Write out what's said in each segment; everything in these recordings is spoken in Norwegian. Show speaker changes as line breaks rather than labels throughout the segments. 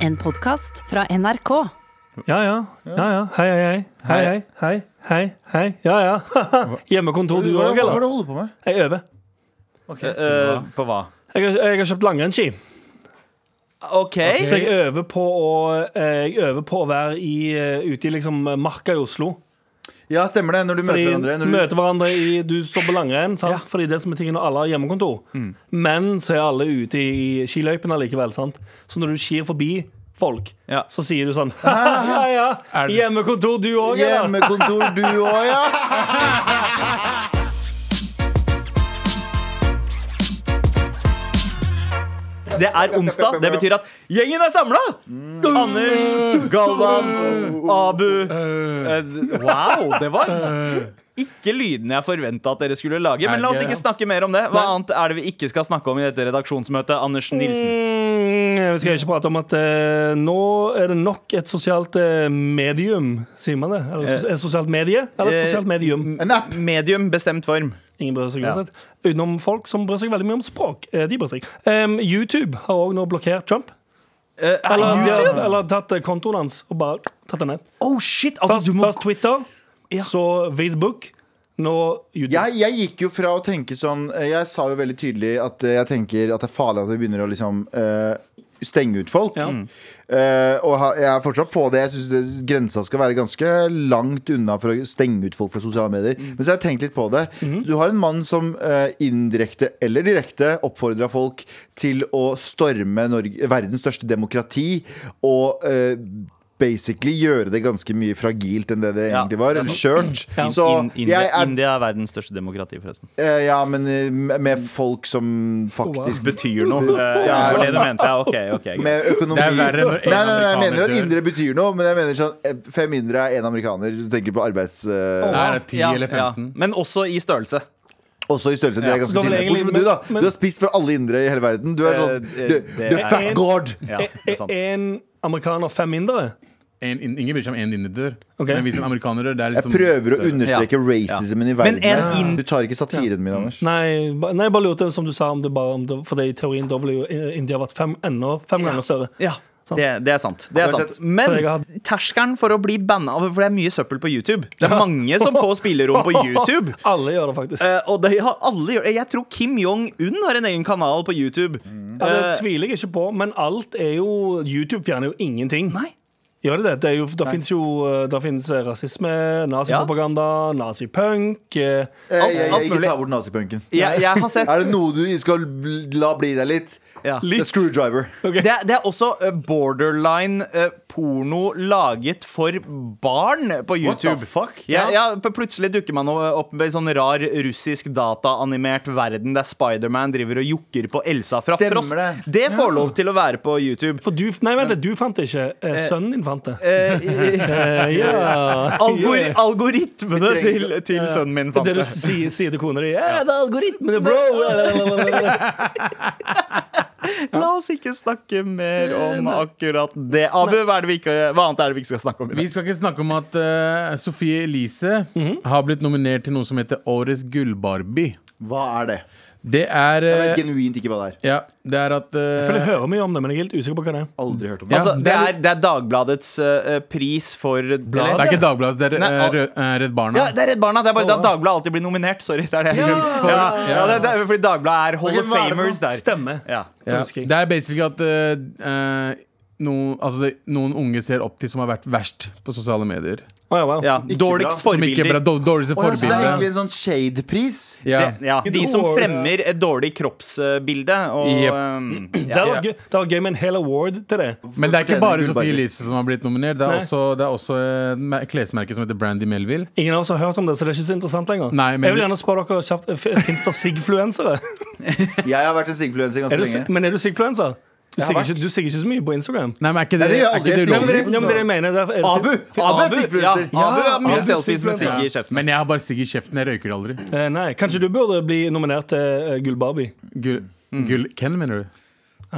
En podkast fra NRK.
Ja, ja. ja, ja. Hei, hei, hei. Hei, hei, hei. hei, hei. Ja, ja. Hjemmekontor du
Hva
òg,
hva er
eller?
det du holder på med?
Jeg øver.
Ok.
Eh, på hva?
Jeg har, jeg har kjøpt langrennsski,
OK.
så jeg øver på å, eh, jeg øver på å være i, ute i liksom marka i Oslo.
Ja, stemmer det. Når du møter
Fordi-
hverandre. Når du,
møter hverandre i Du står på langrenn, sant? Fordi det som er tingen når alle har hjemmekontor.
Mm.
Men så er alle ute i skiløypene likevel, sant? Så når du skier forbi folk,
Ja.
så sier du sånn Ja, ja, hjemmekontor du òg, eller?
Hjemmekontor, du òg, ja.
Det er onsdag. Det betyr at gjengen er samla! Anders, Galvan, Abu eh, Wow, det var ikke lydene jeg forventa at dere skulle lage. Men la oss ikke snakke mer om det. Hva annet er det vi ikke skal snakke om i dette redaksjonsmøtet? Anders Nilsen.
Mm, Vi skal ikke prate om at eh, nå er det nok et sosialt eh, medium, sier man det? Eller sos- et sosialt medie? Eller et
eh,
sosialt medium?
En app.
Medium, bestemt form.
Ingen bryr seg
Ja.
uansett. Utenom folk som bryr seg veldig mye om språk. Eh, De bryr seg. Em, YouTube har òg nå blokkert Trump.
Eh, er
Eller, de
YouTube?
har, eller tatt eh, kontoen hans og bare tatt den ned.
Oh shit! Altså,
Først,
du må
først Twitter, så Facebook, nå YouTube.
Jeg, jeg gikk jo fra å tenke sånn eh, Jeg sa jo veldig tydelig at eh, jeg tenker at det er farlig at vi begynner å liksom eh, stenge ut folk.
Mm.
Eh, og ha, jeg er fortsatt på det. Jeg syns grensa skal være ganske langt unna for å stenge ut folk fra sosiale medier.
Mm.
Men så har jeg tenkt litt på det. Du har en mann som eh, indirekte eller direkte oppfordra folk til å storme Norge, verdens største demokrati og eh, Basically gjøre det ganske mye fragilt enn det det
Ja,
egentlig var.
det er
Eller skjørt. Så
In, India,
jeg er
India er verdens største demokrati, forresten.
Eh, Ja, men eh, med- med folk som faktisk
Betyr noe. Eh,
Ja,
det var
ja.
det du mente? Ja, ok, ok greit.
Med økonomi
Det er verre når en
Nei, nei, nei, jeg
amerikaner
mener at
dør.
indre betyr noe, men jeg mener sånn eh, fem indre er én amerikaner. Så tenker jeg på arbeids... eh,
Nei, det er 10
Ja,
eller 15.
ja. Men også i størrelse.
Også i størrelse. Dere er ganske
Da vil jeg
tidlig.
egentlig-
Hvorfor du, da?
men-
Du har spist for alle indre i hele verden. Du er
Eh,
sånn
eh,
Du,
det
du er
er-
fat god!
Ja, det er sant.
En amerikaner, fem mindre.
En, in- ingen bryr seg om én innedør.
Ok.
Men hvis en amerikaner dør, det er
Jeg
liksom
prøver å
det er-
understreke racismen i
Men
verden.
en
her.
ind-
Du tar ikke satiren min, Anders.
Nei, ba- nei, jeg bare lurte som du sa om det bare om det, For det i teorien da ville jo eh, India vært fem, enda fem ganger større.
Ja,
Sant.
det, det er sant. Det er
Har du
sant.
sett-
Men
For jeg har-
terskelen for å bli banna For det er mye søppel på YouTube. Det er mange som får spillerom på YouTube.
Alle gjør det faktisk.
Eh, og det har alle gjort. Jeg tror Kim Jong-un har en egen kanal på YouTube.
Mm.
Ja,
eh,
det tviler jeg ikke på, men alt er jo YouTube fjerner jo ingenting.
Nei.
Gjør det det? det er jo, da fins jo eh, da finnes eh, rasisme, nazipropaganda, nazipunk eh,
Eh,
alt-
jeg, jeg,
alt
ikke
mulig.
ta bort nazipunken.
Jeg, jeg har sett
Er det noe du skal bl- la bli deg litt?
Ja.
Det er Screwdriver.
Det er, det er også eh, borderline eh, porno laget for barn på
What the
YouTube.
fuck?
Ja, ja, pl- plutselig dukker man opp med sånn rar russisk dataanimert verden der Spiderman driver og jokker på Elsa fra
Stemmer
Frost.
det.
Det får lov til å være på YouTube.
For du Nei, vent litt, du fant det ikke. Eh, sønnen din fant det.
Eh, eh,
Eh, ja.
Algor algoritmene
Vi
til,
trenger-
til sønnen min fant
Det du
det.
sier, sier til kona di. Ja, det er algoritmene, bro!
La oss ikke snakke mer om akkurat det. Abu, hva, er det vi ikke, hva annet er det vi ikke skal snakke om? i
Vi
dag?
skal ikke snakke om at eh, Sofie Elise har blitt nominert til noe som heter Årets gullbarbie.
Hva er det?
Det er
Jeg
eh,
vet genuint ikke hva det er.
Ja, det er at eh,
Jeg føler jeg hører mye om det, men jeg er helt usikker på hva det er.
Aldri hørt om det.
ja,
Altså, det,
litt-
er, det er Dagbladets eh, pris for
Blad?
Det er ikke Dagbladet, det er
Nei,
eh,
al-
Rød- eh, Redd Barna.
Ja, det er Redd Barna. Det er bare
Åh.
at Dagbladet alltid blir nominert. Sorry. Det er det. jeg husker. Ja, ja, det, det er fordi Dagbladet er Hall
Ok,
of
hva er det for
Famers
noe?
der.
Stemme.
Ja.
det
Ja,
husker jeg.
Det er basically at eh, eh, noen, altså det, noen unge ser opp til som har vært verst på sosiale medier.
Å, ja, wow.
Ja.
Ikke
Dårligst
bra.
Som ikke er bra,
forbilder.
dår- dårligste
Å, ja, så det er egentlig
forbilde.
en sånn shade-pris?
Ja.
Det- Ja, de som fremmer et dårlig kroppsbilde. Og,
Jep.
ehm,
Det hadde vært gøy- det hadde vært gøy med en hel award til det.
Men det er ikke
Fortjener
bare Sophie
gullbarbie.
Elise som har blitt nominert. Det
Nei.
er også, det er også et mer- klesmerke som heter Brandy Melville.
Ingen av oss har hørt om det, så det er ikke så interessant lenger.
Nei, men-
jeg vil gjerne spørre dere kjapt f- Finnes det sigfluensere?
Jeg har vært en sigfluenser
Er
ganske
du
lenge.
sig- Men er du sigfluenser? Du
Jeg har
sigger ikke, du sigger ikke så mye på Instagram.
Nei, men er ikke
Nei,
det,
det gjør
er
aldri
ikke det
Ja,
jeg
men
ulovlig?
dere, ja, men dere mener det, er,
Abu! Abu er
ja,
sigfluenser!
Abu har mye
Abu
selfies med
sigfluenser.
Sigge i kjeften.
Men jeg har bare sigg i kjeften. Jeg røyker det aldri.
Eh, Nei, Kanskje du burde bli nominert til eh, Gull Barbie?
Gull, gull Ken, mener du?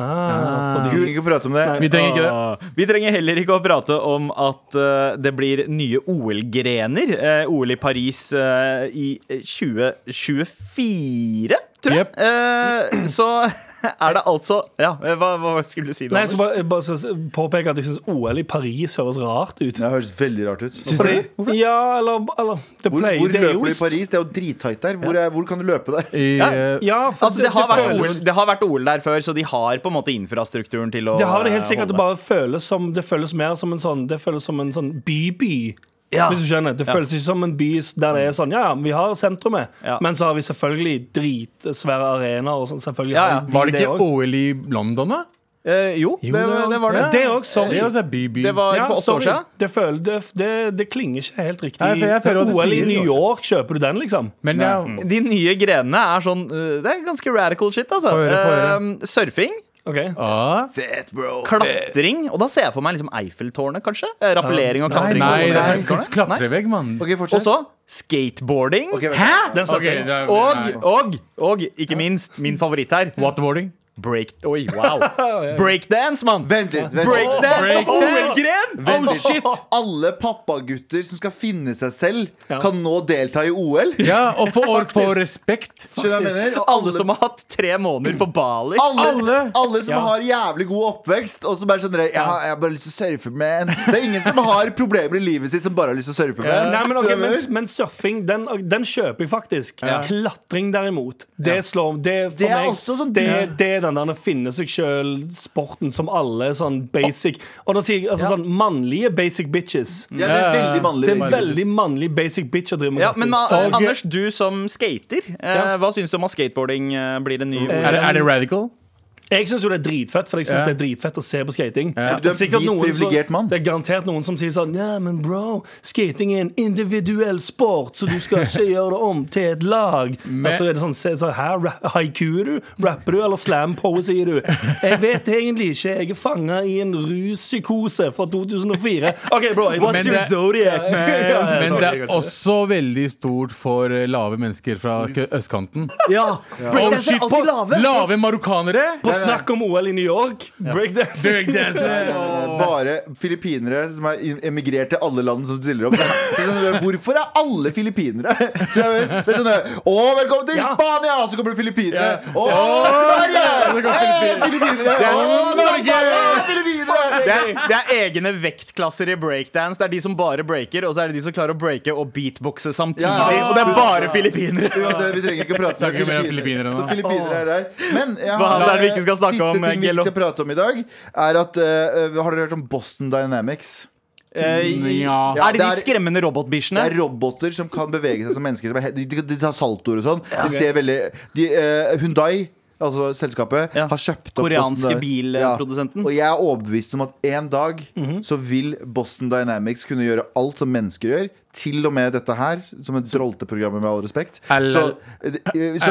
Ah,
Vi
fordi,
vil ikke prate om det.
Vi trenger ikke det.
Ah. Vi trenger heller ikke å prate om at eh, det blir nye OL-grener. Eh, OL i Paris eh, i eh, 2024, tror jeg.
Jep.
Eh, så er det altså Ja, hva, hva skulle du si?
Nei,
Anders?
så bare, jeg bare så påpeke at jeg syns OL i Paris høres rart ut.
Det høres veldig rart ut.
Syns
Fordi,
dere?
ja, eller, eller det
Hvor,
pleier-
hvor
det er jo
løper du i
st-
Paris? Det er jo drittight der. Hvor, er, hvor kan du løpe der?
I,
Ja,
eh,
Ja, for
Altså, det, har vært
føles-
OL, det har vært OL der før, så de har på en måte infrastrukturen til å
Det har det helt
eh,
sikkert. Det bare
holde.
føles som Det føles mer som en sånn Det føles som en sånn by-by.
Ja.
Hvis du skjønner Det føles ikke som en by s- der det er sånn Ja, ja, vi har sentrumet,
Ja.
men så har vi selvfølgelig dritsvære arenaer og sånn. Selvfølgelig
Ja,
har
ja.
vi
Var det ikke
også.
OL i London, da?
Eh, jo,
Jo,
det,
det-
det var det.
Det òg, sorry.
Det er også by, by.
Det var
Ja,
for åtte år
sorry.
siden.
Det, føler, det, det, det klinger ikke helt riktig.
Nei, for jeg føler at det
OL i
sier
New
det også.
York, kjøper du den, liksom?
Men jeg,
De nye grenene er sånn eh, Det er ganske radical shit, altså.
Få høre, få høre.
Eh, surfing,
Ok
ah,
Fett, bro.
klatring, og da ser jeg for meg liksom Eiffeltårnet, kanskje. Eh, Rappellering og
Nei,
klatring.
Nei,
over
det er en
Eiffeltårnet. Nei.
klatrevegg, mann.
Ok,
Og
fortsett.
så skateboarding.
Ok, vent.
Den snakker jeg om.
Og, og, og ikke minst min favoritt her.
Waterboarding.
Break... Oi, wow. Breakdance, mann!
Vent litt. Vent litt.
Breakdance som
Breakdance.
OL-gren!
Vent litt.
shit.
Alle pappagutter som skal finne seg selv,
Ja.
kan nå delta i OL. Skjønner
Ja, og for, og for respekt.
du hva jeg mener? Og
Alle som har hatt tre måneder på Bali.
alle, alle.
alle.
som
Ja.
har jævlig god oppvekst, og som bare sånn jeg, har- 'Jeg har bare lyst til å surfe, man'. Det er ingen som har problemer i livet sitt som bare har lyst til å surfe, man.
Nei, men, ok,
Eh, Skjønner du hva jeg
men,
mener?
men surfing, den, den kjøper jeg faktisk. Klatring, derimot, det slår Det, er for
Det er
meg,
også sånn-
det, det er den der å finne seg sjøl-sporten som alle er sånn basic Og da sier jeg altså sånn mannlige basic bitches.
Ja, det er veldig mannlig.
Det er
basically.
veldig mannlig basic bitch å drive med
Ja, men ma-
Salg-
Anders, du som skater, eh, hva syns du om at skateboarding eh, blir en ny
Er det, er det radical?
Jeg syns jo det er dritfett, for jeg synes
Ja.
det er dritfett å se på skating.
Ja.
Det,
Du er
er sikkert
hvit,
noen som,
privilegert mann.
det er garantert noen som sier sånn Ja, men bro, skating er en individuell sport, så du skal ikke gjøre det om til et lag.
Men-
Og så er det sånn, se, sånn her, ra- Haikuer du? Rapper du? Eller slam poesier du? Jeg vet egentlig ikke. Jeg er fanga i en ruspsykose fra 2004. OK, bro. Jeg,
What's your
zodiac, man?
Men det er også veldig stort for eh, lave mennesker fra kø- østkanten.
ja.
Og
Breakdance
shit
er
på
alltid lave.
lave marokkanere!
På snakk om OL i New York. Breakdance.
Nei, nei, nei, nei. Bare filippinere som er in- emigrert til alle land som stiller opp. Det er sånn, Hvorfor er alle filippinere? Tror jeg vel. Det er sånn der, Å, velkommen til
Ja.
Spania! Og så kommer det filippinere.
Ja.
Å, Sverige! Hei, filippinere! Å, Norge! Å, filippinere!
det er, det er egne vektklasser i breakdance. Det er de som bare breaker, og så er det de som klarer å breake og beatboxe samtidig.
Ja, ja, ja.
Og det er bare filippinere!
Uansett, vi trenger ikke prate
Snakker mer om filippinere nå.
Så filippinere er der. Men jeg
Hva
har, eh,
er det vi ikke skal snakke
siste
om,
ting vi
Gello?
ikke skal prate om i dag, er at eh, Har dere hørt om Boston Dynamics?
Eh,
Ja.
Er det de
det er-
skremmende
Det
robotbikkjene?
er roboter som kan bevege seg som mennesker. Som er, he- de, de, de tar saltoer og sånn. De ser veldig de, eh, Hyundai, altså selskapet,
Ja.
har kjøpt opp
Koreanske
Boston Dy-
bilprodusenten. Mhm.
Ja. Og jeg er overbevist om at en dag så vil Boston Dynamics kunne gjøre alt som mennesker gjør. Til og med dette her, som et drolteprogram, med all respekt.
Ell-
Så, eh, så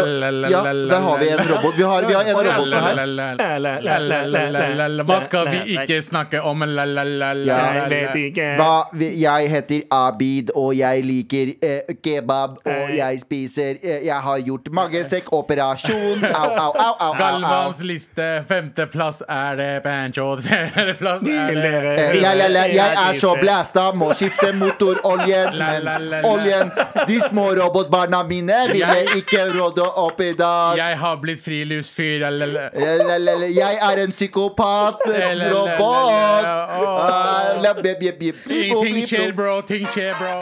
Ja, der har vi en robot. Vi har, vi har en av robotene her.
Hva skal vi ikke snakke om?
Jeg
ikke.
Hva, jeg heter Abid, og jeg liker eh, kebab, og jeg spiser eh, Jeg har gjort magesekkoperasjon. Au, au, au, au, au, au.
Galvans liste, femteplass er det Pancho, fjerdeplass er det
Eh, la, la, la, jeg er så blæsta, må skifte motoroljen. Men oljen De små robotbarna mine vil jeg ikke råde opp i dag.
Jeg har blitt friluftsfyr lalala.
Eh, la, la, la, Jeg er en psykopat. Robot. Ah, la, bli, bli, bli, bli, bli,
Ting
bli.
skjer, bro. Ting skjer, bro.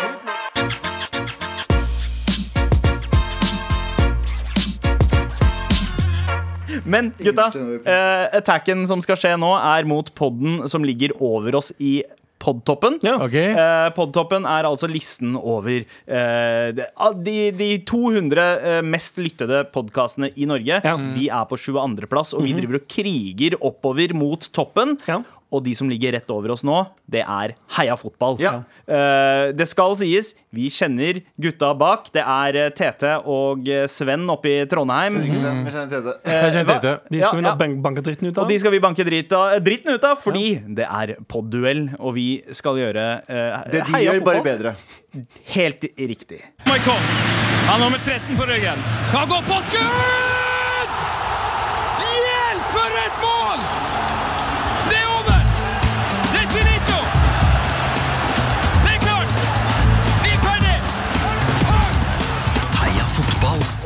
Men gutta,
skjønner det.
eh, attacken som skal skje nå, er mot podden som ligger over oss i podtoppen.
Ja.
Ok.
Eh, Podtoppen er altså listen over eh, de, de- de 200 eh, mest lyttede podkastene i Norge. Mm.
Ja. Mhm.
Vi er på 22. plass, og vi driver og kriger oppover mot toppen.
Ja.
Og de som ligger rett over oss nå, det er Heia Fotball.
Ja.
Eh, det skal sies, vi kjenner gutta bak. Det er eh, Tete og eh, Sven oppe i Trondheim.
Jeg kjenner til det.
Eh,
Jeg kjente etter.
De skal
Ja,
vi nå
ja.
bank- banke dritten ut av.
Og de skal vi banke drit av, eh, dritten ut av, fordi det er podduell, og vi skal gjøre eh,
Det de
Heia
gjør, bare
Fotball
bedre.
Helt riktig.
Michael. Han har med 13 på ryggen. Han går på skudd! Hjelp for et mål! Det er over! Det er finito! Det er klart! Vi er ferdig!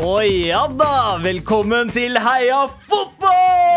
Og ja da, velkommen til Heia fotball!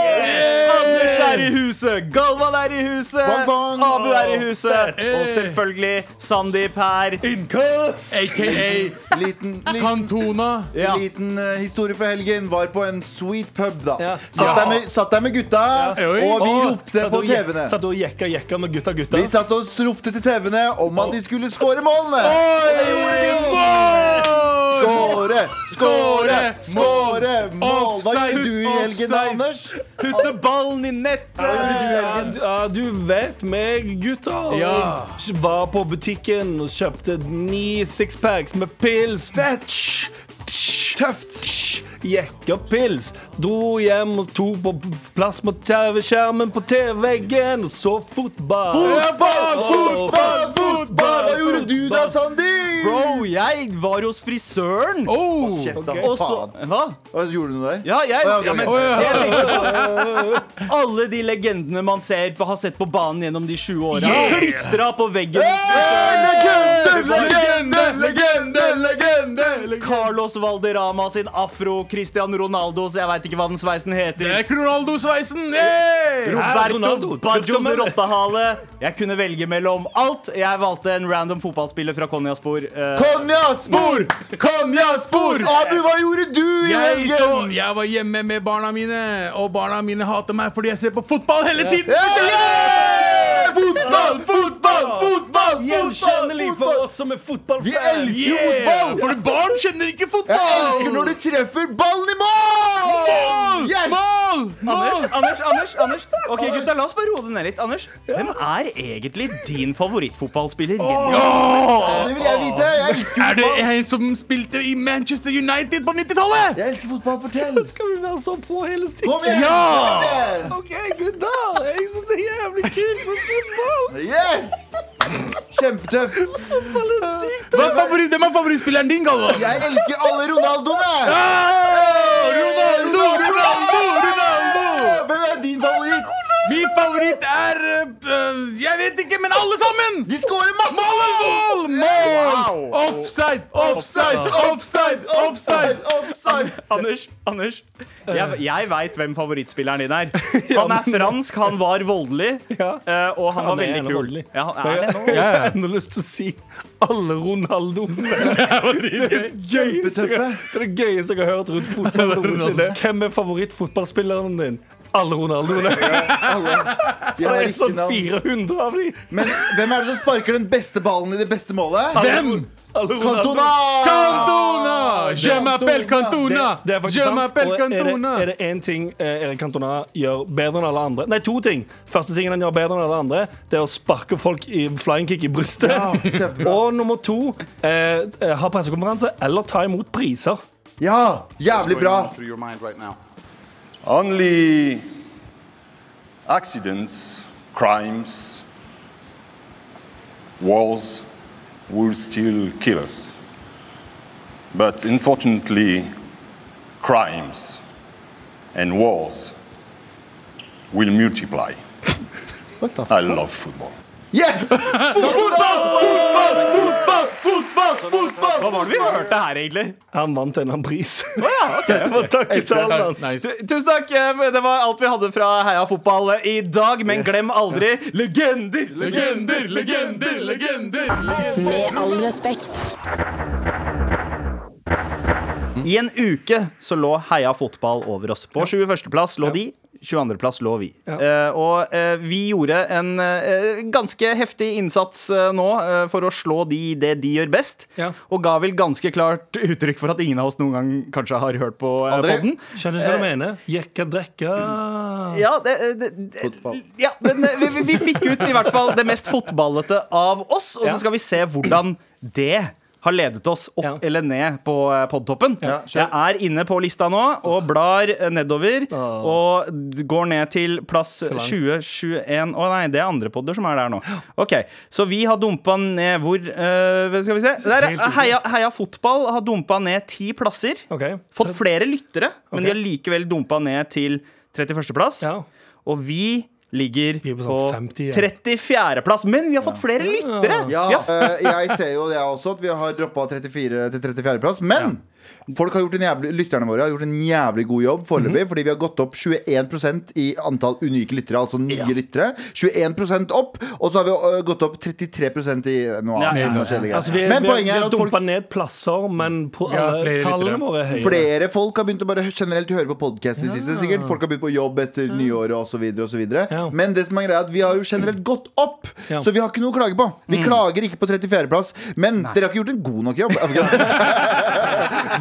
Anders er i huset, Galvan er i huset,
Bang, bang.
Abu er i huset, og selvfølgelig Sandeep her.
Innkast!
AKA
Liten, liten,
Kantona.
Ja.
liten eh, historie fra helgen. Var på en sweet pub, da.
Ja.
Satt, der med, satt der med gutta,
Oi.
og vi
Å,
ropte
satt
på
og je-
TV-ene.
Satt og jekka jekka med gutta gutta.
Vi satt og ropte til TV-ene om at de skulle score målene. Og det gjorde de jo! Skåre, skåre, skåre! Mål! Hva
Offside,
gjorde du i helgen, da,
offside.
Anders?
Putte ballen i nettet!
Ja, du- Eh, ja, du vet meg, gutta. Og
Ja.
Var på butikken og kjøpte ni sixpacks med pils.
Fetch! Tøft!
Jekka pils. Dro hjem og tok på plass mot TV-skjermen på TV-veggen og så fotball.
Fotball, fotball, fotball! Hva gjorde du da, Sandi?
Bro, jeg var hos frisøren,
Oh!
Kjeft, da.
Ok.
og så
Faen.
Hva?
Hva Gjorde du noe der?
Ja, jeg
Å, ok,
ja, men,
ok.
jeg tenkte på Alle de legendene man ser på, har sett på banen gjennom de 20 åra.
Yeah!
Klistra på veggen.
Legende, legende,
legende, legende!
Carlos Valderama sin afro, Cristian Ronaldo, så jeg veit ikke hva den sveisen heter.
Ronaldo-sveisen! Yeah!
Roberto
Ronaldo,
Bajos
Turkmenet.
rottehale. Jeg kunne velge mellom alt. Jeg valgte en random fotballspiller fra Konjaspor. Eh,
Konjaspor! Konjaspor! Abu, hva gjorde du i
Jeg, så,
helgen?
jeg var hjemme med barna mine, og barna mine hater meg fordi jeg ser på fotball hele tiden!
Yeah! Fotball, fotball, fotball!
Gjenkjennelig
fotball,
for
fotball.
oss som er fotballfans.
Vi elsker
Yeah!
fotball!
Fordi barn kjenner ikke fotball!
Jeg elsker når du treffer ballen i mål!
Mål!
Yes!
Mål!
Anders,
Mål!
Anders, Anders, Anders. Ok, gutta, La oss bare roe det ned litt. Anders, Hvem er egentlig din favorittfotballspiller? gjennom-
Åh!
Det vil jeg vite. Jeg elsker
Er det
fotball.
en som spilte i Manchester United på 90-tallet?
Jeg elsker fotball. Fortell.
Skal vi være så på hele stikken?
Kom igjen!
Ja!
OK, gutta. Jeg syns det er jævlig kult med fotball.
Yes! Kjempetøft.
Hva er favoritt, hvem er favorittspilleren din, Galvan?
Jeg elsker alle Ronaldoene.
Ronaldo, Ronaldo, Ronaldo!
Hvem er din favoritt?
Min favoritt er øh, øh, Jeg vet ikke, men alle sammen!
De scorer masse
Mål, mål, mål!
Wow.
Offside, offside, offside, offside!
Offside!
Anders, Anders.
Eh.
Jeg, jeg veit hvem favorittspilleren din er. Han er fransk, han var voldelig,
Ja.
eh, og
Han er
han var veldig
gjerne
kul.
voldelig.
Ja, han er det nå.
Men Jeg jeg har ennå lyst til å si alle Ronaldo. Det er det gøyeste jeg- det er det gøyeste jeg har hørt rundt fotball noensinne. Hvem er favorittfotballspilleren din? Alle Ronaldoene.
Jeg
Det
har
er
riktig
sånn
navn.
400 av dem.
Men hvem er det som sparker den beste ballen i det beste målet?
Hvem? Alle Ronaldo.
Cantona!
Cantona! Je m'appelle Cantona!
Det, det er faktisk
Je
sant.
m'appelle
Og er det-
Cantona!
er det én ting eh, Erik Cantona gjør bedre enn alle andre Nei, to ting. Første tingen han gjør bedre enn alle andre, Det er å sparke folk i flying kick i brystet.
Ja, kjempebra.
Og nummer to eh, eh, ha pressekonferanse eller ta imot priser.
Ja, jævlig bra.
going on through your mind right now? Only accidents, crimes, wars will still kill us. But unfortunately, crimes and wars will multiply.
What the
I love football.
Yes! Fotball, fotball, fotball, fotball, fotball!
Hva var det vi hørte her, egentlig?
Han vant en eller annen pris.
Takk til
Nice.
Tu- Tusen takk. eh, Det var alt vi hadde fra Heia fotball eh, i dag. Men glem aldri legender!
Legender, legender, legender!
Med all respekt.
I en uke så lå Heia fotball over oss. På 21.-plass lå de. 22.-plass lå vi. Eh, og eh, vi gjorde en eh, ganske heftig innsats eh, nå eh, for å slå de i det de gjør best.
Ja.
Og ga vel ganske klart uttrykk for at ingen av oss noen gang kanskje har hørt på uh,
Aldri.
podden.
Skjønner ikke hva du mener. Jekka, drekka
Ja, det, eh, det, det,
Fotball.
ja men, eh, vi, vi- vi fikk ut i hvert fall det mest fotballete av oss, og så skal vi se hvordan det har ledet oss opp
Ja.
eller ned på eh, podtoppen.
Ja, kjør.
Jeg er inne på lista nå og blar eh, nedover og d- går ned til plass
langt.
20, 21 Å nei, det er andre podder som er der nå. Ok, Så vi har dumpa ned hvor eh, Skal vi se. Der,
Helt
eh, heia, heia fotball har dumpa ned ti plasser.
Ok.
Fått flere lyttere, men
Ok.
de har likevel dumpa ned til 31.-plass.
Ja.
Og vi ligger
Vi er på
på
sånn 50, ja.
34.-plass. Men vi har fått flere lyttere!
Ja,
Ja.
eh, jeg ser jo det også, at vi har droppa 34 til 34. plass. Men Folk har gjort en jævlig, lytterne våre har gjort en jævlig god jobb foreløpig, fordi vi har gått opp 21 i antall unike lyttere, altså nye lyttere. 21 opp, og så har vi ø, gått opp 33 i noe
Ja,
annet.
ja, ja.
forskjellige greier.
Altså, vi,
Men
vi, vi
poenget er
har
at folk
dumpa ned plasser, men på,
har
alle-
flere lyttere.
tallene våre er høyere.
Flere folk har begynt å bare generelt høre på podkasten siste. Sikkert Folk har begynt på jobb etter nyåret osv.
Ja.
videre Men det som er greia er at vi har jo generelt gått opp,
Ja. Mm.
så vi har ikke noe å klage på. Vi klager ikke på 34.-plass, men dere har ikke gjort en god nok jobb.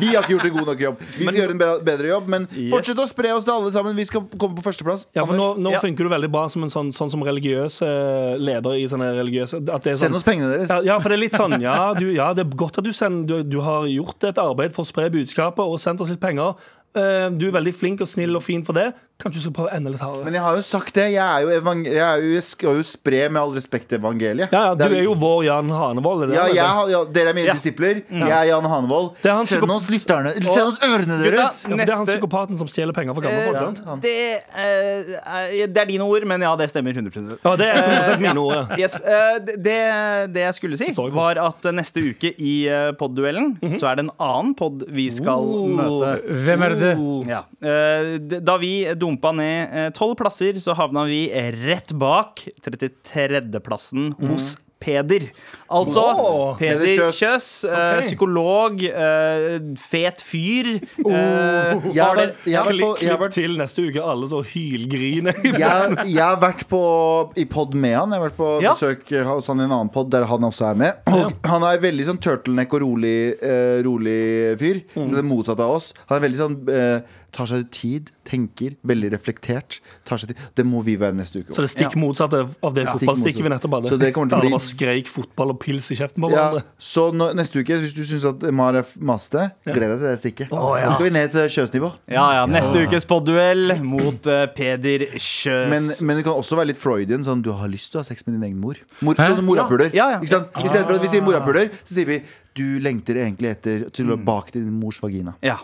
vi har ikke gjort en god nok jobb. Vi skal gjøre en bedre- bedre jobb, men fortsett å spre oss til alle sammen. Vi skal komme på førsteplass.
Ja, for nå, nå
Ja.
funker du veldig bra som en sånn, sånn som religiøs eh, leder i sånne religiøse at det er sånn,
Send oss pengene deres.
Ja, ja, for det er litt sånn Ja, du, ja det er godt at du, sender, du, du har gjort et arbeid for å spre budskapet og sendt oss litt penger. Eh, du er veldig flink og snill og fin for det. Kanskje du skal prøve enda litt hardere.
Men jeg har jo sagt det. Jeg, er jo evang jeg, er jo, jeg skal jo spre, med all respekt, evangeliet.
Ja, ja, du
Det
er jo vår Jan Hanevold. er det
Ja,
det
jeg,
heter?
har- ja, dere er mine
Ja. Mm.
disipler. Jeg er Jan Hanevold.
Det er han
Send
psyko-
oss lytterne Send oss ørene deres!
ja, for det er han
Neste-
psykopaten som stjeler penger fra gamle
Eh,
folk. sant?
han.
det, eh, det er dine ord, men ja, det stemmer 100
Ja, det er 100 mine ord. ja.
Yes, eh, det, det jeg skulle si,
står jeg for.
var at neste uke i eh, podduellen så er det en annen pod vi skal møte.
Mhm. Hvem er det?
Ja. Eh, d- Da vi dumpa ned eh, tolv plasser, så havna vi rett bak 33.-plassen
Mhm.
hos Peder. Altså
Åh.
Peder
Peder Kjøs.
Kjøs, eh, psykolog, eh, fet fyr. eh,
Jeg har, vært- jeg, har vært på,
Klipp,
jeg, har
klipp
vært,
til neste uke, alle så hylgriner.
jeg, har- jeg har vært på i pod med han. Jeg har vært på
Ja.
besøk hos han i en annen pod der han også er med. Og han er veldig sånn turtleneck og rolig, eh, rolig fyr.
Mm.
Det er motsatt av oss. Han er veldig sånn eh, tar seg tid, tenker, veldig reflektert. Tar seg tid. Det må vi være neste uke.
Så det er stikk motsatte av det
Ja.
fotballstikket vi nettopp hadde.
Så det kommer til å
Der
bli-
bare skreik fotball og pils i kjeften på
Ja,
hverandre.
så nå, neste uke, hvis du syns at Maref maste, gled deg til det stikket. Nå skal vi ned til kjøsnivå.
Ja, ja. Neste ukes podduell mot eh, Peder Kjøs.
Men, men det kan også være litt Freudian. Sånn, du har lyst til å ha sex med din egen mor. mor sånn morapuler.
Ja, Ah. ja.
Ikke sant? I stedet for at vi sier morapuler, så sier vi du lengter egentlig etter til
Mm.
å bak til din mors vagina.
ja.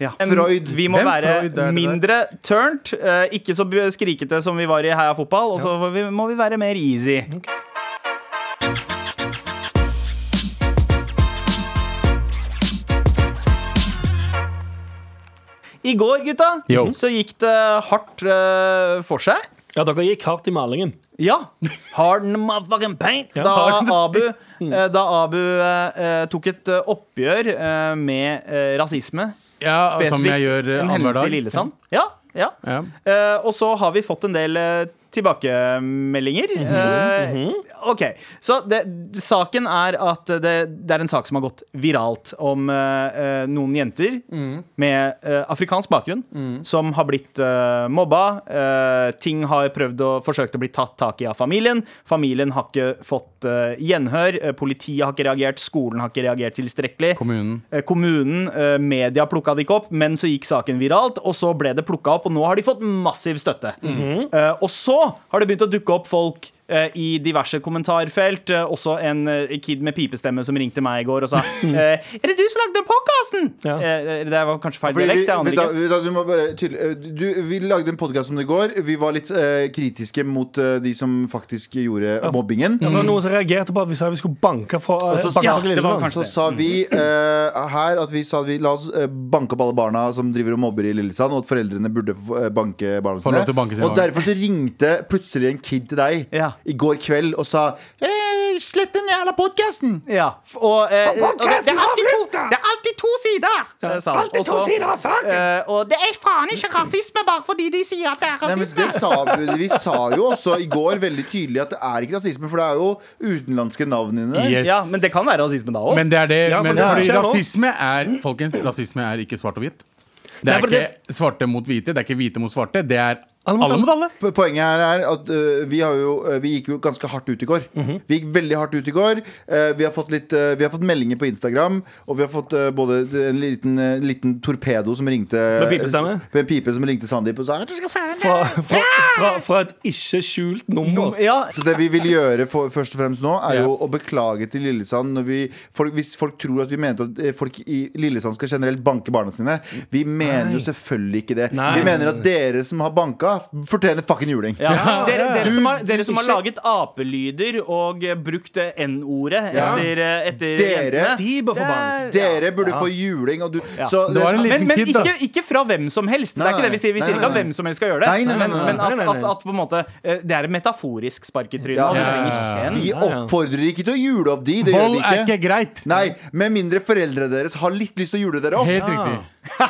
Ja.
Freud.
Vi må
Hvem Freud er
være
det der?
mindre turnt, eh, ikke så bu- skrikete som vi var i Heia fotball, og så får vi- må vi være mer easy. I går, gutta,
Yo.
så gikk det hardt eh, for seg.
Ja, dere gikk hardt i malingen.
Ja. Harden motherfucking paint.
Ja,
Da
harden the
Abu,
Mm.
eh, da Abu eh, eh, tok et eh, oppgjør eh, med eh, rasisme.
Ja, som jeg gjør eh,
en
annenhver
hendelse
dag.
i Lillesand. Ja, ja.
Ja.
Eh, og så har vi fått en del eh, tilbakemeldinger.
Mhm.
Eh, OK. Så det, saken er at det, det er en sak som har gått viralt om eh, eh, noen jenter
Mhm.
med eh, afrikansk bakgrunn som har blitt eh, mobba. Eh, ting har prøvd å, forsøkt å bli tatt tak i av familien. Familien har ikke fått eh, gjenhør. Eh, politiet har ikke reagert. Skolen har ikke reagert tilstrekkelig.
Kommunen.
Eh, kommunen, eh, media plukka det ikke opp, men så gikk saken viralt, og så ble det plukka opp, og nå har de fått massiv støtte. Eh, og så har det begynt å dukke opp folk eh, i diverse kommentarfelt. Eh, også en eh, kid med pipestemme som ringte meg i går og sa eh, Er det du som lagde den podkasten?
Ja.
det var kanskje feil
Fordi vi,
dialekt, jeg
vet
aner
da,
ikke.
vet da, du må bare tydelig, eh, du, vi lagde en podkast om det i går. Vi var litt eh, kritiske mot eh, de som faktisk gjorde mobbingen.
Ja, for det var noen som reagerte på at vi sa vi skulle banke fra eh,
så-
banke
Ja,
fra
det var
Lilleland.
kanskje
Så
det.
sa vi eh, her at vi sa at vi la oss eh, banke opp alle barna som driver og mobber i Lillesand, og at foreldrene burde eh, banke barna
Få
sine.
lov til å banke sine
og
barn.
derfor så ringte plutselig en kid til deg
Ja.
i går kveld og sa «Eh, Slett den jævla podkasten!
Ja, f- og, eh, og det, det, er alltid to, det er alltid to sider! eh, sa han. Og så- eh, og det er faen ikke rasisme bare fordi de sier at det er
Nei, men det sa vi, vi sa jo også i går veldig tydelig at det er ikke rasisme, for det er jo utenlandske navn inni der.
Yes.
Ja, men det kan være rasisme da òg.
Men det er det.
Ja, for
men,
det
fordi
skjer nå.
rasisme er Folkens, rasisme er ikke svart og hvitt. Det
Nei,
er
for det-
ikke svarte mot hvite, det er ikke hvite mot svarte. Det er
Alle mot
alle mot alle.
Po- Poenget her er at eh, vi, har jo, eh, vi gikk jo ganske hardt ut i går. Vi gikk veldig hardt ut i går. Eh, vi, har fått litt, eh, vi har fått meldinger på Instagram, og vi har fått eh, både en liten, eh, liten torpedo som ringte
Med pipestemme?
Med en pipe som ringte Sandeep og sa "Jeg tror jeg skal faen deg."
Fra, fra, fra, fra et ikke skjult nummer.
ja,
Så det vi vil gjøre for, først og fremst nå, er jo
Ja.
å beklage til Lillesand når vi, folk, hvis folk tror at vi mente at eh, folk i Lillesand skal generelt banke barna sine. Vi mener jo selvfølgelig ikke det.
Nei.
Vi mener at dere som har banka, Gutta fortjener fucking juling.
Ja. Dere, dere,
Du-
som har, dere som har
ikke-
laget apelyder og eh, brukt eh, N-ordet
Ja.
etter, eh, etter
Dere-
De bør få bank.
Dere burde få juling, og du så,
Det var en
Men,
liten
men
kid, da.
ikke, ikke fra hvem som helst. Det
Nei,
er ikke det vi sier. Vi
nei,
sier ikke at
nei,
hvem som helst skal gjøre det.
Nei, nei, nei,
men
nei,
men
nei,
at,
nei, nei.
at, at på en måte eh, det er et metaforisk spark i trynet.
Ja.
og Du
Ja,
ja,
trenger
Vi
ikke en.
oppfordrer ikke til å jule opp de. Det gjør
Vold
vi
er
ikke.
ikke greit.
Nei, Med mindre foreldrene deres har litt lyst til å jule dere opp,
Ah.
Helt riktig.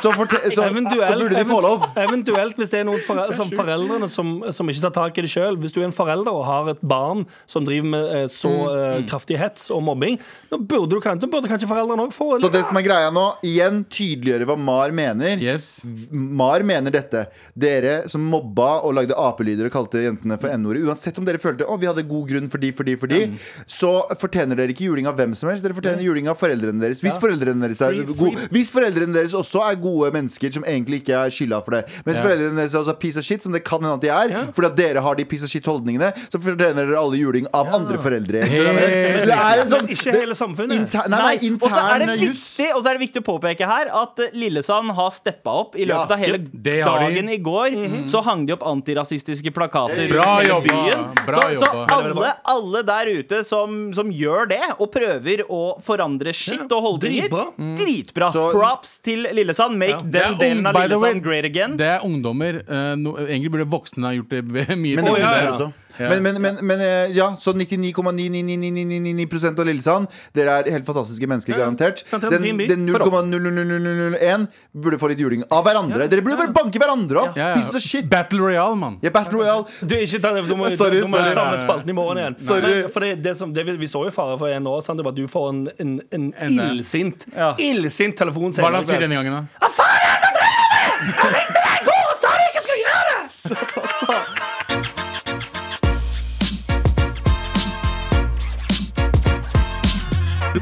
så, forte- så, så burde de få lov.
eventuelt hvis det er noen forel som foreldrene som, som ikke tar tak i det sjøl. Hvis du er en forelder og har et barn som driver med eh, så
Mm.
eh, kraftig hets og mobbing, da burde, du, kan- da burde kanskje foreldrene òg få
Så det som er greia nå, igjen tydeliggjøre hva Mar mener.
Yes.
Mar mener dette. Dere som mobba og lagde apelyder og kalte jentene for n-ordet, uansett om dere følte å, vi hadde god grunn for de, for de, for de,
Mm.
så fortjener dere ikke juling av hvem som helst. Dere fortjener juling av foreldrene deres. Hvis foreldrene deres er gode Hvis foreldrene deres også er gode mennesker som egentlig ikke er skylda for det, mens foreldrene deres er også piece of shit, som det kan hende at de er, fordi at dere har de piece of shit-holdningene, så fortjener dere alle juling av andre foreldre. Så det er en sånn
Ikke
det-
hele samfunnet.
Inter, nei, nei,
Og så er,
intern
det
juss.
viktig- og så er det viktig å påpeke her at eh, Lillesand har steppa opp. I
Ja.
løpet av hele
det har de.
dagen i går så hang de opp antirasistiske plakater rundt
Bra
hele
jobba.
byen.
Bra
så så
jobba.
alle, alle der ute som, som gjør det, og prøver å forandre shit og holdninger,
Dritbra.
Mm.
dritbra.
Så-
Props til Lillesand. Make
Det er
den delen
ung-
av
by the way,
Lillesand great again.
Det er ungdommer. eh, no, egentlig burde voksne ha gjort det be- mye
Men det
tidligere.
gjorde dere
Ja.
også. Men, men, men, men eh, ja, så 99,99999 av Lillesand, dere er helt fantastiske mennesker, garantert.
Garantert en
Den,
fin by.
den 0,00001 burde få litt juling av hverandre. Dere burde bare banke hverandre opp!
Ja, ja.
Piss of shit!
Battle Royale, mann.
Ja, Battle Royale.
Du, ikke ta det, du må,
Sorry,
du må
sorry.
samle spalten i morgen igjen.
Sorry.
Men, for det, det som, det, vi- vi så jo fare for en år, sant? det var at du får en, en, en
En, eh,
illsint
ja.
Illsint telefon
Hva
senere
er det han sier
i kveld.
denne gangen, da?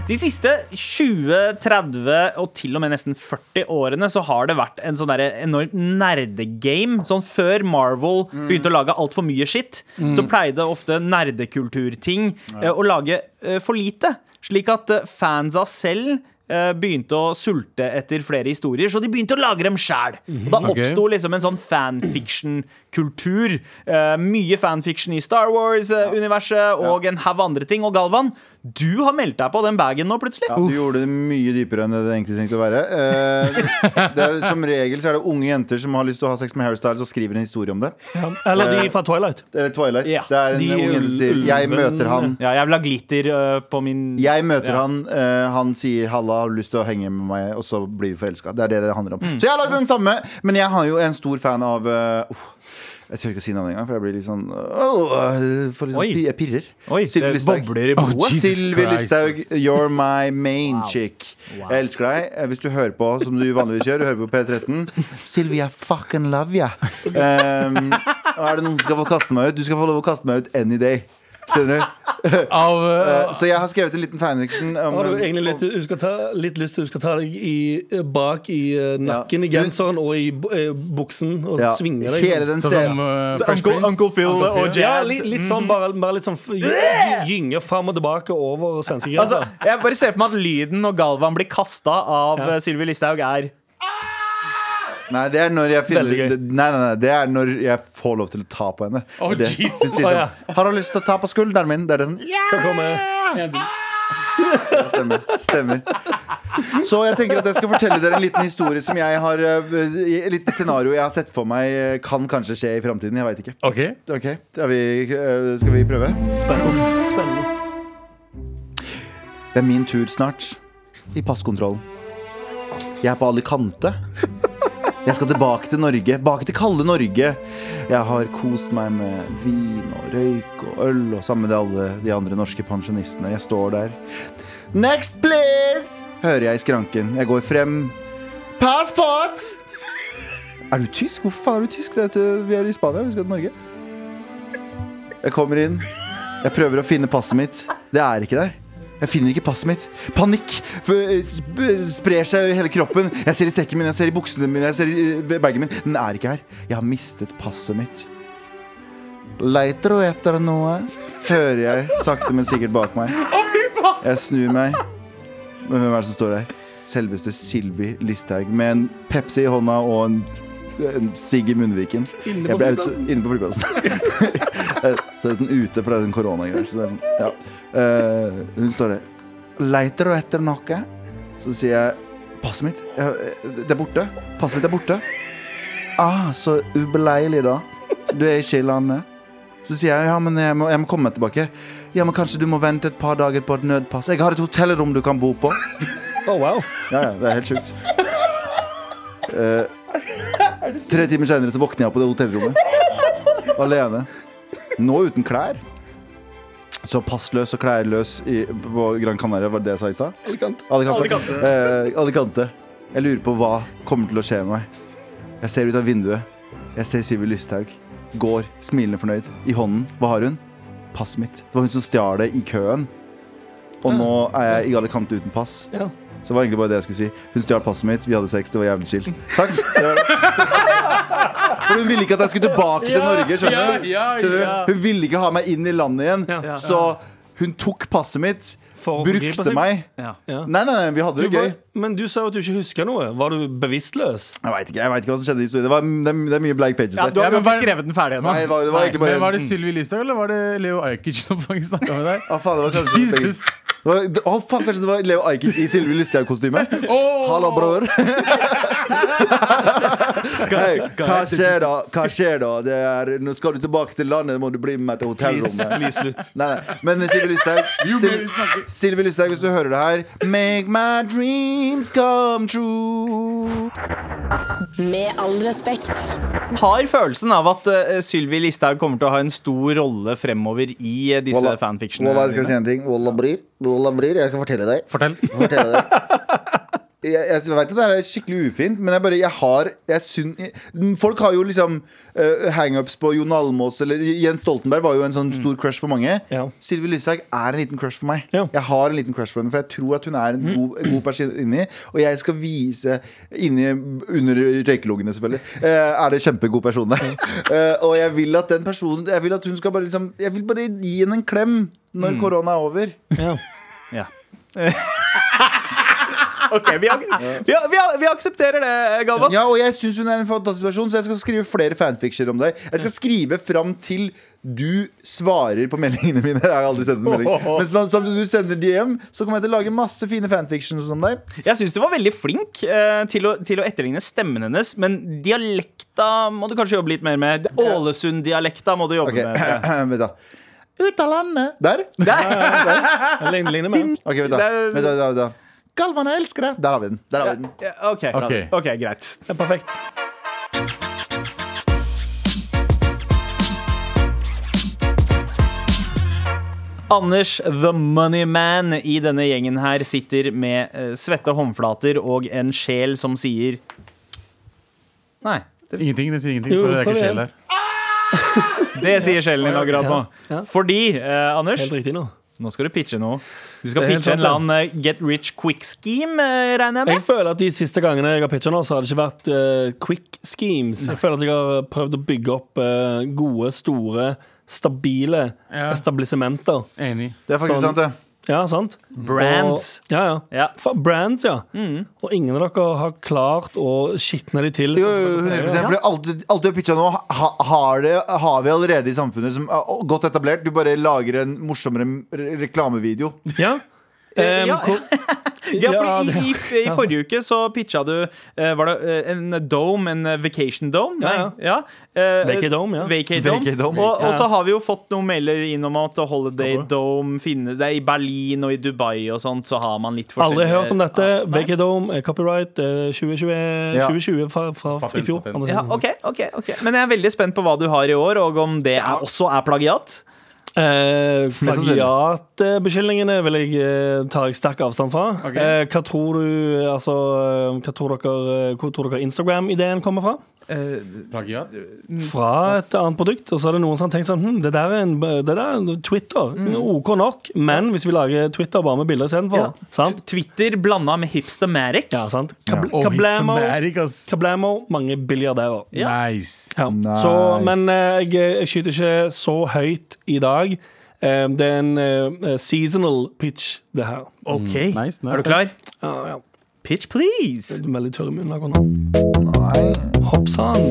De siste 20, 30 og til og med nesten 40 årene så har det vært en sånn derre enormt nerdegame. Sånn før Marvel begynte å lage altfor mye skitt, så pleide ofte nerdekulturting eh, å lage eh, for lite. Slik at eh, fansa selv eh, begynte å sulte etter flere historier, så de begynte å lage dem sjæl. Da
Ok.
oppsto liksom en sånn fanfiction-kultur. Eh, mye fanfiction i Star Wars-universet og en haug andre ting. Og Galvan, du har meldt deg på den bagen nå, plutselig.
Ja, du gjorde det mye dypere enn det det egentlig trengte å være. Eh, det er, som regel så er det unge jenter som har lyst til å ha sex med Harry Styles og skriver en historie om det.
Ja, Eller de fra Twilight.
Eller Twilight.
Ja,
Eh, det er en
de
ung jente som sier
ulven-
'Jeg møter han'.
Ja, jeg vil ha glitter øh, på min
Jeg møter
Ja.
han, eh, han sier 'halla, har du lyst til å henge med meg', og så blir vi forelska. Det er det det handler om.
Mm.
Så jeg har lagd den samme, men jeg har jo en stor fan av eh, uff, Jeg tør ikke si navnet engang, for jeg blir litt sånn åh, eh, for litt sånn
Oi.
pi- Jeg pirrer.
Oi,
Sylvi
det
Listhaug.
bobler i blodet.
Oh, Jesus
Sylvi
Christ,
Listhaug,
ass.
you're my main chick. Jeg elsker deg. Eh, Hvis du hører på som du vanligvis gjør, du hører på P13 Sylvi, I fucking love ya. Um, og er det noen som skal få kaste meg ut? Du skal få lov å kaste meg ut any day. Skjønner du?
Av eh,
Eh, Så jeg har skrevet en liten fanfiction. om-
Har du egentlig litt, du skal ta, litt lyst til du skal ta deg i, bak i eh, nakken i
Ja.
genseren og i bu- eh, buksen og
Ja,
svinge deg?
Hele den
Sånn som
scenen.
eh,
Så
Fresh
Uncle,
Prince.
Uncle Phil
Uncle
og
Phil.
Jazz.
Ja, litt, litt
Mhm.
sånn bare, bare litt sånn f- gy- gynger fram og tilbake over
Altså,
svenskegrensa.
jeg bare ser for meg at lyden når Galvan blir kasta av ja. Sylvi Listhaug, er
Nei, det er når jeg finner
Veldig gøy.
det- Nei, nei, nei, det er når jeg får lov til å ta på henne.
Å,
det,
Jesus.
Hun sier
Å, ja.
sånn, har du lyst til å ta på skulderen min? Det er det sånn, ja,
Så kommer
det stemmer, stemmer. Så jeg tenker at jeg skal fortelle dere en liten historie som jeg har eh, Et lite scenario jeg har sett for meg eh, kan kanskje skje i framtiden. Jeg veit ikke.
Ok.
Ok, er vi, eh, Skal vi prøve?
spennende.
Det er min tur snart i passkontrollen. Jeg er på Alicante. Jeg skal tilbake til Norge, tilbake til kalde Norge. Jeg har kost meg med vin og røyk og øl og sammen med alle de andre norske pensjonistene. Jeg står der. Next, please! hører jeg i skranken. Jeg går frem. Passport! Er du tysk? Hvorfor faen er du tysk? Det er at uh, vi er i Spania, vi skal til Norge. Jeg kommer inn. Jeg prøver å finne passet mitt. Det er ikke der. Jeg finner ikke passet mitt. Panikk f- sp- sprer seg i hele kroppen. Jeg ser i sekken min, jeg ser i buksene mine, jeg ser i eh, bagen min. Den er ikke her. Jeg har mistet passet mitt. Leiter du etter noe? Hører jeg sakte, men sikkert bak meg. Jeg snur meg. Men hvem er det som står der? Selveste Sylvi Listhaug med en Pepsi i hånda og en en sigg i munnviken.
Inne på
Jeg ble ute-
flyplassen.
Inne på flyplassen. så det er sånn ute, for det er sånn koronagreier. Så det er sånn, ja. Eh, hun står der. Leiter du etter noe? Så sier jeg passet mitt. Jeg, eh, det er borte. Passet mitt er borte. Ah, så ubeleilig, da. Du er ikke i landet. Så sier jeg ja, men jeg må, jeg må komme meg tilbake. Ja, men kanskje du må vente et par dager på et nødpass. Jeg har et hotellrom du kan bo på.
Oh, wow.
Ja, ja, det er helt sjukt. Eh, tre timer seinere så våkner jeg opp på det hotellrommet. Alene. Nå uten klær. Så passløs og klærløs i, på Gran Canaria, var det det jeg sa i stad?
Elegant.
Alicante. Eh, Alicante. Jeg lurer på hva kommer til å skje med meg. Jeg ser ut av vinduet. Jeg ser Sylvi Lysthaug. Går smilende fornøyd. I hånden. Hva har hun? Passet mitt. Det var hun som stjal det i køen. Og nå er jeg i Alicante uten pass.
Ja.
Så det var egentlig bare det jeg skulle si. Hun stjal passet mitt, vi hadde sex, det var jævlig chill. Takk. Det var det. For hun ville ikke at jeg skulle tilbake til Norge, skjønner du?
ja,
Skjønner
ja.
du? Hun ville ikke ha meg inn i landet igjen,
Ja.
så hun tok passet mitt,
For å forgripe
brukte
seg.
meg.
Ja.
Ja.
Nei, nei, nei, vi hadde
Du
det
var,
gøy.
men du sa jo at du ikke husker noe. Var du bevisstløs?
Jeg veit ikke, jeg vet ikke hva som skjedde i historien. Det, var, det, er- det er mye blank pages
Ja,
der.
du har
Ja,
jo
men
ikke
hva-
skrevet den ferdig ennå.
Nei, det var, det var egentlig
Men var
bare Mm.
det Sylvi Lysthaug eller var det Leo Ajkic som faktisk snakka med deg?
Å, Ah, faen, det var kanskje sånn
Jesus.
Det var, det, å, faen, kanskje det var Leo Ajkic i Sylvi Lysthaug-kostyme?
Åh!
Hallo, bror. Hei, hva skjer da? Hva skjer da? Det er, nå skal du tilbake til landet, må du bli med meg til
Please,
hotellrommet.
please slutt.
Nei, nei. Men Sylvi Lysthaug,
Jo,
Syl-
men vi snakker-
Sylvi Lysthaug, hvis du hører det her Make my dreams come true.
Med all respekt.
Har følelsen av at uh, Sylvi Listhaug kommer til å ha en stor rolle fremover i eh, disse
Wallah,
fanfictionene.
Wallah, jeg skal
dine.
si en ting. Wallah brir. Wallah brir. Jeg skal fortelle deg.
Fortell.
Jeg skal fortelle deg. Jeg, jeg vet at det her er skikkelig ufint, men jeg bare, jeg har jeg syn, Folk har jo liksom eh, hangups på Jon Almaas eller Jens Stoltenberg var jo en sånn stor crush for mange.
Mm. Ja.
Sylvi Lysthaug er en liten crush for meg.
Ja. Mm.
Jeg har en liten crush for henne, for jeg tror at hun er en god, en god person inni. Og jeg skal vise inni Under røykeloggene, selvfølgelig. eh, er det en kjempegod person der. Eh, og jeg vil at den personen Jeg vil at hun skal bare liksom Jeg vil bare gi henne en klem
Mm.
når korona er over.
Ja. OK, vi, ak vi, vi, vi aksepterer det, Galvan.
Ja, og jeg syns hun er en fantastisk person, så jeg skal skrive flere fanfictioner om deg. Jeg skal skrive fram til du svarer på meldingene mine. Jeg har aldri sendt en melding. Men sam- samtidig du sender de hjem, så kommer jeg til å lage masse fine fanfictions om deg.
Jeg syns du var veldig flink eh, til, å, til å etterligne stemmen hennes, men dialekta må du kanskje jobbe litt mer med. Ålesund-dialekta må du jobbe
Ok,
med.
vent da. Ut av landet. Der.
Jeg ligner- ligner mer.
Ok, vent da.
Der-
Vent da, vent da, vent da. Galvan, jeg elsker deg. Der har vi den. Der har vi den.
Ja, OK, bra.
Ok.
OK, greit.
Det er perfekt.
Anders The Money Man i denne gjengen her sitter med eh, svette håndflater og en sjel som sier Nei.
Ingenting, det sier ingenting.
Jo,
For det er
kom
ikke
igjen.
sjel der.
Det sier sjelen din akkurat nå. Fordi, eh, Anders,
Helt riktig nå.
nå skal du pitche noe. Du skal
Det er helt
pitche
sant,
en eller annen eh, get rich quick scheme, eh, regner jeg med?
Jeg føler at de siste gangene jeg har pitcha nå, så har det ikke vært eh, quick schemes. Jeg føler at jeg har prøvd å bygge opp eh, gode, store, stabile
Ja.
establissementer.
Enig.
Det er faktisk
Sånn.
sant, det.
Ja, sant?
Brands.
Og, ja, ja.
Ja. Mm.
Fa- Brands, ja. Og ingen av dere har klart å skitne de til.
Jo, jo, 100% for alt, du- alt du har pitcha nå, ha, har, det, har vi allerede i samfunnet som er godt etablert. Du bare lager en morsommere re reklamevideo.
Ja. Em,
Eh, ja.
hvor-
Ja,
Ja,
fordi
det-
i, i, I forrige uke så pitcha du eh, Var det eh, en dome, en eh, vacation dome?
Ja,
Nei, ja. Eh,
Vacadome, ja.
Vacadome.
Vacadome.
Og, og
Ja.
så har vi jo fått noen mailer innom at Holiday
Kommer.
Dome finnes det er I Berlin og i Dubai og sånt så har man litt
Aldri
forskjellige
hørt om dette.
Ah, nei.
VK Dome, eh, copyright eh, 2020,
Ja.
2020 fra, fra i
Patent,
fjor.
patent.
Anders
Ja,
Hansen.
ok, ok, ok Men jeg er veldig spent på hva du har i år, og om det er, også er plagiat.
Eh,
sannsynlig.
Plagiatbeskyldningene vil jeg eh, tar jeg sterk avstand fra.
Ok.
Eh, hva tror du eh, altså, eh, hva tror dere, eh, Hvor tror dere Instagram-ideen kommer fra?
Plagiat?
Mm.
Fra et annet produkt. Og så er det noen som har tenkt sånn hm, Det der er, en, det der er en Twitter. Mm, OK nok, men hvis vi lager Twitter bare med bilder istedenfor,
Mm. Ja.
sant?
Twitter blanda med hipstermatic.
Ja, sant? Kabl
Og
Kablamo,
Hipstamatic, ass.
kablamo, mange billiardærer.
Nice.
Ja.
Nice.
Så, men eh, jeg, jeg skyter ikke så høyt i dag. Eh, det er en eh, seasonal pitch, det her.
Ok,
nice, nice.
Er du klar?
Ja, ja.
Pitch please!
Du er veldig tørr i munnen akkurat nå. Hopp sann.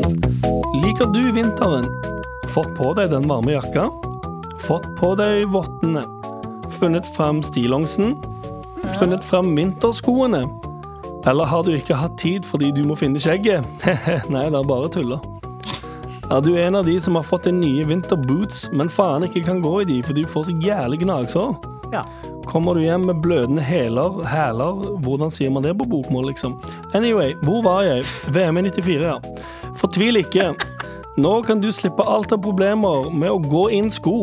Liker du vinteren? Fått på deg den varme jakka? Fått på deg vottene? Funnet frem stillongsen? Funnet frem vinterskoene? Eller har du ikke hatt tid fordi du må finne skjegget? Nei, det er bare tuller. Er du en av de som har fått deg nye vinterboots, men faen ikke kan gå i de fordi du får så jævlig gnagsår?
Ja.
Kommer du hjem med blødende hæler, hæler Hvordan sier man det på bokmål, liksom? Anyway, hvor var jeg? VM i 94, ja. Fortvil ikke. Nå kan du slippe alt av problemer med å gå inn sko.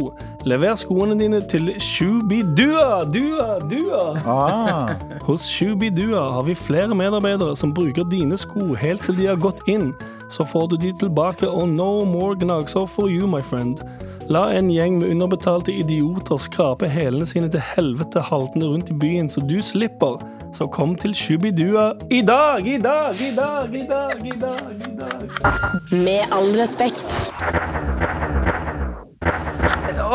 Lever skoene dine til Shubidua, dua, dua.
Ah,
Hos Shubidua har vi flere medarbeidere som bruker dine sko helt til de har gått inn. Så får du de tilbake, og no more gnagsår for you, my friend. La en gjeng med underbetalte idioter skrape hælene sine til helvete haltende rundt i byen, så du slipper. Så kom til Shubidua i dag, i dag, i dag, i dag, i dag. i dag.
Med all respekt.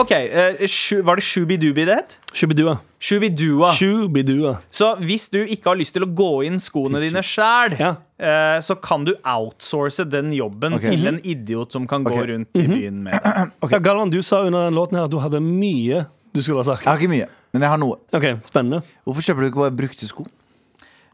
OK, eh, shu- var det Shubidubi det het?
Shubidua.
Shubidua.
Ah. Shubidua.
Så hvis du ikke har lyst til å gå inn skoene dine sjæl,
Ja.
eh, så kan du outsource den jobben
Ok.
til en idiot som kan gå
Ok.
rundt
Mhm.
i byen med deg.
Ja, Galvan, du sa under den låten her at du hadde mye du skulle ha sagt.
jeg har ikke mye, men jeg har noe.
Ok, spennende.
Hvorfor kjøper du ikke bare brukte sko?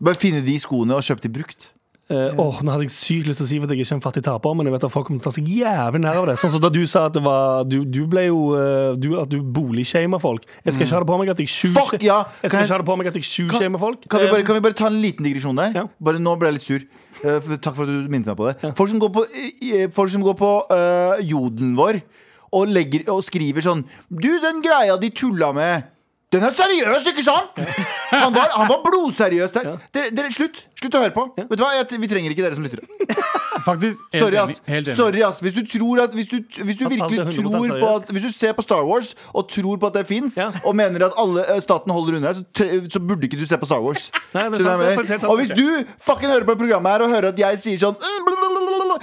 Bare finne de skoene og kjøp de brukt.
Eh, åh, Nå hadde jeg sykt lyst til å si at jeg ikke er en fattig taper, men jeg vet at folk kommer til å ta seg jævlig nær av det. Sånn som da du sa at det var Du, du ble jo eh, du, At du boligshamer folk. Jeg skal ikke ha det på meg at jeg
Mm. Fuck,
tjuvshamer
ja!
Jeg
Kan
skal
jeg-
ikke ha det på meg at jeg
Kan,
tjuvshamer folk.
kan, vi bare,
Eh,
kan vi bare ta en liten digresjon der?
Ja.
Bare Nå ble jeg litt sur. Eh, for- takk for at du minnet meg på det. Folk som går på, eh, folk som går på eh, jodelen vår og, legger, og skriver sånn Du, den greia de tulla med, den er seriøs, ikke sant? Han var, han var blodseriøs der. Dere, dere, slutt slutt å høre på. Vet du hva, jeg, Vi trenger ikke dere som lyttere.
Faktisk, helt
Sorry,
enig.
ass.
Helt enig.
Sorry, ass. Hvis du, tror at, hvis du, hvis du
At alt er
virkelig
100%
tror på
seriøst.
at Hvis du ser på Star Wars og tror på at det fins,
Ja.
og mener at alle eh, staten holder unna, så, tre- så burde ikke du se på Star Wars.
Nei, det er
Skjønner du
sant,
hva
det
jeg
er faktisk helt
mener?
sant.
Og hvis du fucking hører på det programmet her og hører at jeg sier sånn eh, blablabla,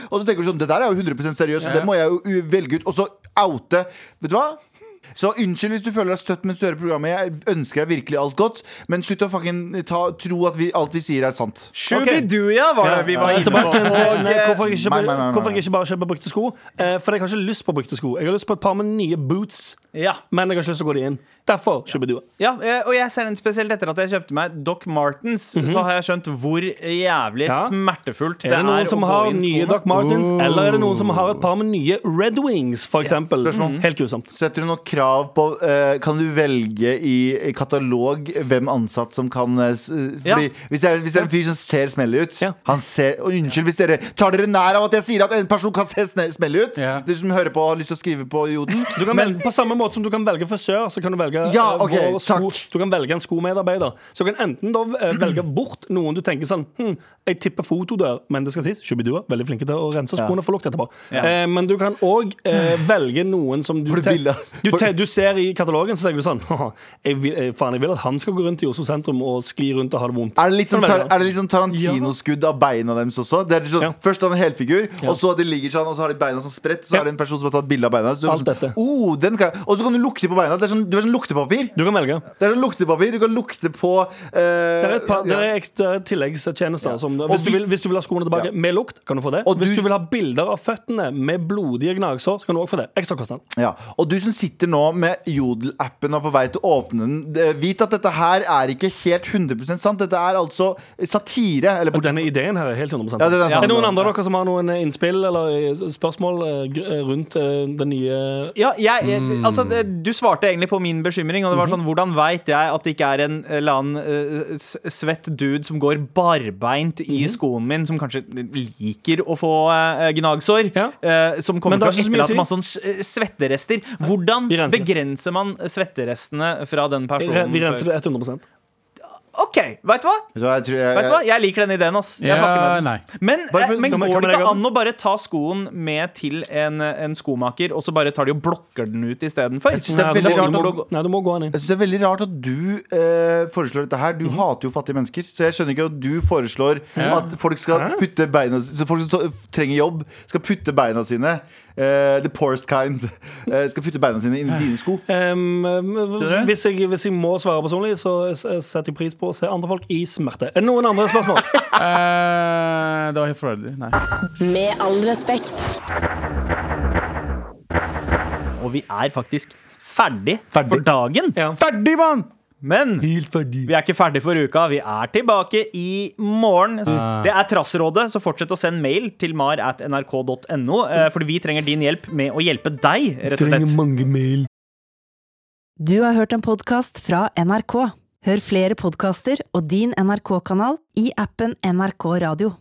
Og så tenker du sånn Det der er jo 100 seriøst, så det må jeg jo u- velge ut. Og så oute. Vet du hva? Så unnskyld hvis du føler deg støtt mens du hører programmet. Jeg ønsker deg virkelig alt godt, men slutt å fucking ta, tro at vi, alt vi sier, er sant.
Shubiduya var det vi var
Ja,
inne
tilbake til-
på.
til-
Og,
nei,
eh,
Hvorfor jeg ikke
Nei, nei, nei,
bare-
nei.
hvorfor jeg ikke bare kjøper brukte sko? Eh, For jeg har ikke lyst på brukte sko. Jeg har lyst på et par med nye boots,
ja.
men jeg har ikke lyst til å gå de inn. Derfor kjøper du.
Ja, eh, og jeg ser den spesielt etter at jeg kjøpte meg Doc Martens. Så har jeg skjønt hvor jævlig
Mhm. Ja.
smertefullt det
Er det noen som
å gå
har
inn
nye
skoene.
Doc Martens, eller er det noen som har et par med nye Red Wings, for eksempel?
Spørsmål.
Helt grusomt.
Setter du noe krav på eh, Kan du velge i, i katalog hvem ansatt som kan eh, s- Fordi
Ja.
hvis, det er, hvis det er en fyr som ser smellig ut
Ja.
Han ser, og Unnskyld hvis dere tar dere nær av at jeg sier at en person kan se sne- smellig ut.
Ja.
Dere som hører på og har lyst til å skrive på Jodel.
Du kan velge, på samme måte som du kan velge frisør, så kan du velge,
Ja,
eh,
ok,
vår sko,
takk.
du kan velge en skomedarbeider. Så du kan enten da eh, velge bort noen du tenker sånn hm, Jeg tipper foto der, men det skal sies, Shubidua veldig flinke til å rense skoene for lukt etterpå. Eh, men du kan òg eh, velge noen som du,
For det
te-
bildet.
du,
For-
te du ser i katalogen, så tenker du sånn «Haha, jeg vil, eh, Faen, jeg vil at han skal gå rundt i Oslo sentrum og skli rundt og ha det vondt.
Er det litt
Kan
sånn,
du
tar,
velge
er det litt sånn Tarantino-skudd av beina deres også? Det er litt sånn,
Ja.
Først har han en helfigur,
Ja.
og så at de ligger sånn, og så har de beina sånn spredt. Så
Ja.
er det en person som har tatt bilde av beina. Så er det
Alt
sånn,
dette.
oh, den kan, jeg-» og så kan du lukte på beina. Det er sånn, du er sånn luktepapir.
Du kan velge.
Det er sånn luktepapir, Du kan lukte på eh,
Det er et par, det
ja.
er ekstra tilleggstjenester. Som, hvis, du
hvis-
vil, hvis du vil ha skoene tilbake med lukt, kan du få det.
Og
hvis du
du-
vil ha bilder av føttene med blodige gnagsår, så kan du også få det. Ekstra kostnad.
Ja, Og du som sitter nå med Jodel-appen og er på vei til å åpne den, det- vit at dette her er ikke helt 100 sant. Dette er altså satire. Eller
Og
bortsett
Denne ideen her er helt 100
Ja, den er
er,
sant.
det noen andre av dere som har noen eh, innspill eller eh, spørsmål eh, gr- eh, rundt eh, den nye
Ja, jeg, jeg,
Mm.
altså, det- du svarte egentlig på min bekymring. Og
Mhm.
det var sånn, Hvordan veit jeg at det ikke er en eller annen eh, s- svett dude som går barbeint
Mhm.
i skoen min, som kanskje liker å få eh, gnagsår?
Ja.
eh, som
Men
kommer til
det
å
er ikke så mye å
etterlate
si.
masse sånn s- eh, svetterester. Hvordan
Vi renser.
begrenser man svetterestene fra den
Vi
personen?
re- Vi
før-
renser det 100
OK, veit du hva?
Vet du hva, jeg tror jeg-
Vet du hva? Jeg liker den ideen, ass. Jeg fucker
Ja,
med den.
nei.
Men,
Bare for-
eh, men
Kan man-
går
kan
det
man legge
ikke
av
an å bare ta skoen med til en, en skomaker, og så bare tar de og blokker den ut istedenfor?
Jeg synes det
Nei,
er
du må,
veldig
du
rart
må,
at-
gå- nei, du må gå den inn.
Jeg synes det er veldig rart at du eh, foreslår dette her. Du
Mhm.
hater jo fattige mennesker. Så jeg skjønner ikke at du foreslår at folk skal putte beina si- Så folk som t- trenger jobb, skal putte beina sine eh, the poorest kind, eh, skal putte beina sine inn i dine sko.
Em, em,
Skjønner du?
Ehm, hvis, jeg, hvis jeg må svare personlig, så s- setter jeg pris på å se andre folk i smerte. Er det noen andre spørsmål?
Eh, det var helt forferdelig. Nei.
Med all respekt.
Og vi er faktisk ferdig, for dagen.
Ja.
Ferdig, mann!
Men vi er ikke ferdig for uka. Vi er tilbake i morgen. Det er Trassrådet, så fortsett å sende mail til mar at nrk.no. eh, Fordi vi trenger din hjelp med å hjelpe deg, rett og slett.
Du har hørt en podkast fra NRK. Hør flere podkaster og din NRK-kanal i appen NRK Radio.